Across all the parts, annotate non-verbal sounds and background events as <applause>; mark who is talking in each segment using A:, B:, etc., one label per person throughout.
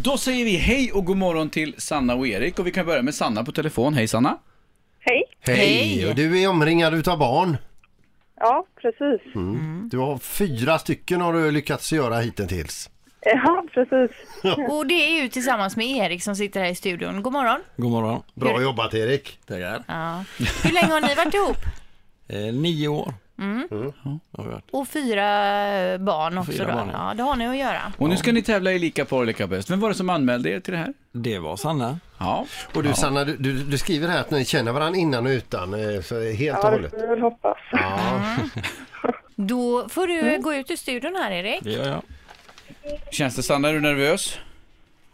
A: Då säger vi hej och god morgon till Sanna och Erik och vi kan börja med Sanna på telefon. Hej Sanna!
B: Hej.
C: Hej.
D: Och du är omringad utav barn.
B: Ja, precis.
D: Mm. Du har fyra stycken har du lyckats göra hittills.
B: <laughs> Ja, precis.
C: Och det är ju tillsammans med Erik som sitter här i studion. God morgon.
E: God morgon.
D: Bra jobbat Erik.
E: Tackar.
C: Ja. Hur länge har ni varit ihop?
E: Eh, nio år har vi varit.
C: Och fyra eh, barn också
E: Fyra
C: då.
E: barn, ja.
C: Ja, det har ni att göra.
A: Och nu ska ni tävla i Lika par lika bäst. Vem var det som anmälde er till det här?
E: Det var Sanna.
A: Ja.
D: Och du Sanna, du, du, du skriver här att ni känner varandra innan och utan. eh, Så helt och
B: Ja, det
D: hållet.
B: får vi väl hoppas.
D: Ja.
C: Då får du
E: Mm.
C: eh, gå ut ur studion här Erik.
E: Det gör jag.
A: Känns det Sanna, är du nervös?
B: <laughs>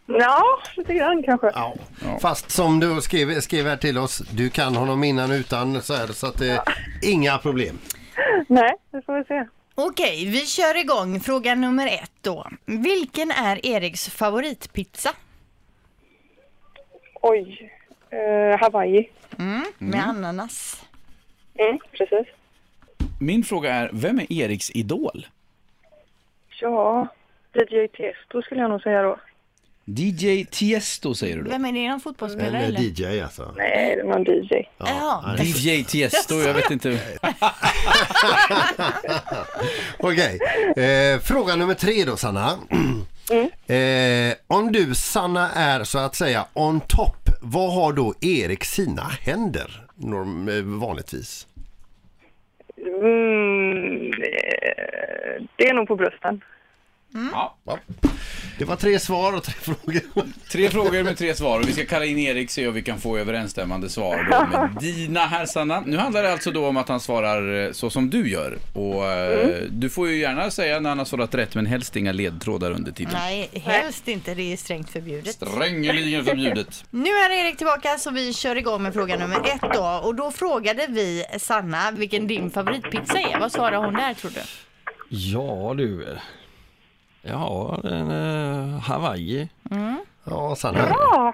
B: Ja, lite grann kanske.
D: Ja. Fast som du skrev, skrev här till oss, du kan honom innan och utan så, här, så att det inga problem.
B: Nej, det får vi se.
C: Okej, vi kör igång fråga nummer ett då. Vilken är Eriks favoritpizza?
B: Oj. Eh, Hawaii.
C: Med ananas.
B: Mm, precis.
A: Min fråga är, vem är Eriks idol?
B: Ja, DJ Tiesto skulle jag nog säga då.
A: DJ Tiesto säger du då?
C: Vem är det? Någon fotbollsspelare
D: En
C: eller?
D: DJ alltså.
B: Nej, det var en DJ.
C: Jaha.
D: nej.
A: DJ Tiesto, jag vet inte.
D: Okej. Eh, fråga nummer tre då Sanna. Eh, om du Sanna är så att säga on top, vad har då Erik sina händer norm, eh, vanligtvis?
B: Mm, eh, det är nog på brösten.
A: Ja.
D: Ja. Det var tre svar och tre <laughs> frågor.
A: Tre frågor med tre svar och vi ska kalla in Erik se om vi kan få överensstämmande svar då med dina här Sanna. Nu handlar det alltså då om att han svarar eh, så som du gör och eh, du får ju gärna säga när han har svarat rätt men helst inga ledtrådar under tiden.
C: Nej, helst inte. Det är strängt förbjudet.
A: Strängeligen förbjudet.
C: Nu är Erik tillbaka så vi kör igång med fråga nummer ett då. Och då frågade vi Sanna vilken din favoritpizza är. Vad svarade hon där tror du?
E: Ja du. Ja, den, eh, Hawaii.
D: Ja Sanna.
A: Ja!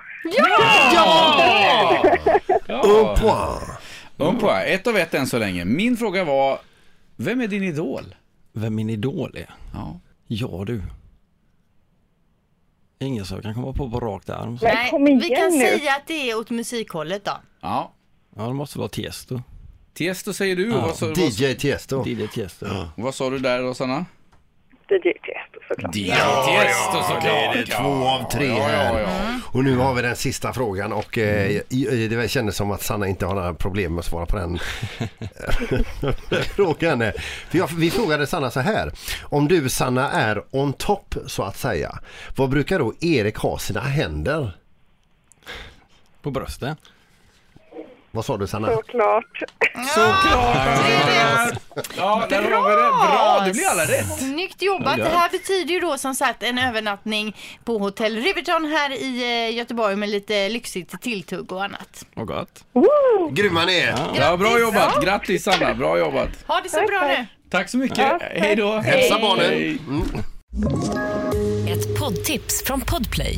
D: Un point.
A: Un poäng. Ett av ett än så länge. Min fråga var, vem är din idol?
E: Vem min idol är?
A: Ja.
E: Ja du. Ingen som jag kan komma på på rakt arm.
B: Men kom igen
C: vi kan
B: nu.
C: säga att det är åt musikhållet då.
A: ja.
E: Ja, det måste vara Tiesto.
A: Tiesto säger du.
E: Ja,
A: Vad, sa, vad,
D: DJ Tiesto.
E: Didde Tiesto.
A: vad sa du där då Sanna?
B: DJ Tiesto såklart.
A: DJ Tiesto såklart.
D: Det är två av tre
A: Ja, ja, ja.
D: här. Och nu har vi den sista frågan och eh, i- det kändes som att Sanna inte har några problem med att svara på den frågan. är- För jag, vi frågade Sanna så här. Om du Sanna är on top så att säga. Vad brukar då Erik ha sina händer?
E: På brösten.
D: Vad sa du Sanna?
B: Såklart.
A: Ja, där har vi det. Bra, det blir alla rätt.
C: Snyggt jobbat! Det här betyder ju då som sagt en övernattning på hotell Riverton här i eh, Göteborg med lite lyxigt tilltugg och annat.
E: Och gott.
D: Grymma ni är!
A: Ja, bra
C: Grattis!
A: jobbat. Grattis Sanna, bra jobbat.
C: Ha det så bra nu!
A: Tack så mycket. Hej då.
D: Hälsa barnen.
A: Hej.
F: Ett poddtips från Podplay.